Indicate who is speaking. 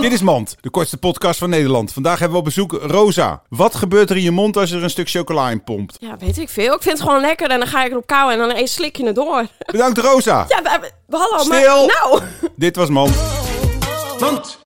Speaker 1: Dit is Mand, de kortste podcast van Nederland. Vandaag hebben we op bezoek Rosa. Wat gebeurt er in je mond als je er een stuk chocola in pompt?
Speaker 2: Ja, weet ik veel. Ik vind het gewoon lekker en dan ga ik erop kauwen en dan eens slik je het door.
Speaker 1: Bedankt Rosa.
Speaker 2: Ja, we, we, hallo,
Speaker 1: Stil.
Speaker 2: maar... Nou...
Speaker 1: Dit was Mand. Mand.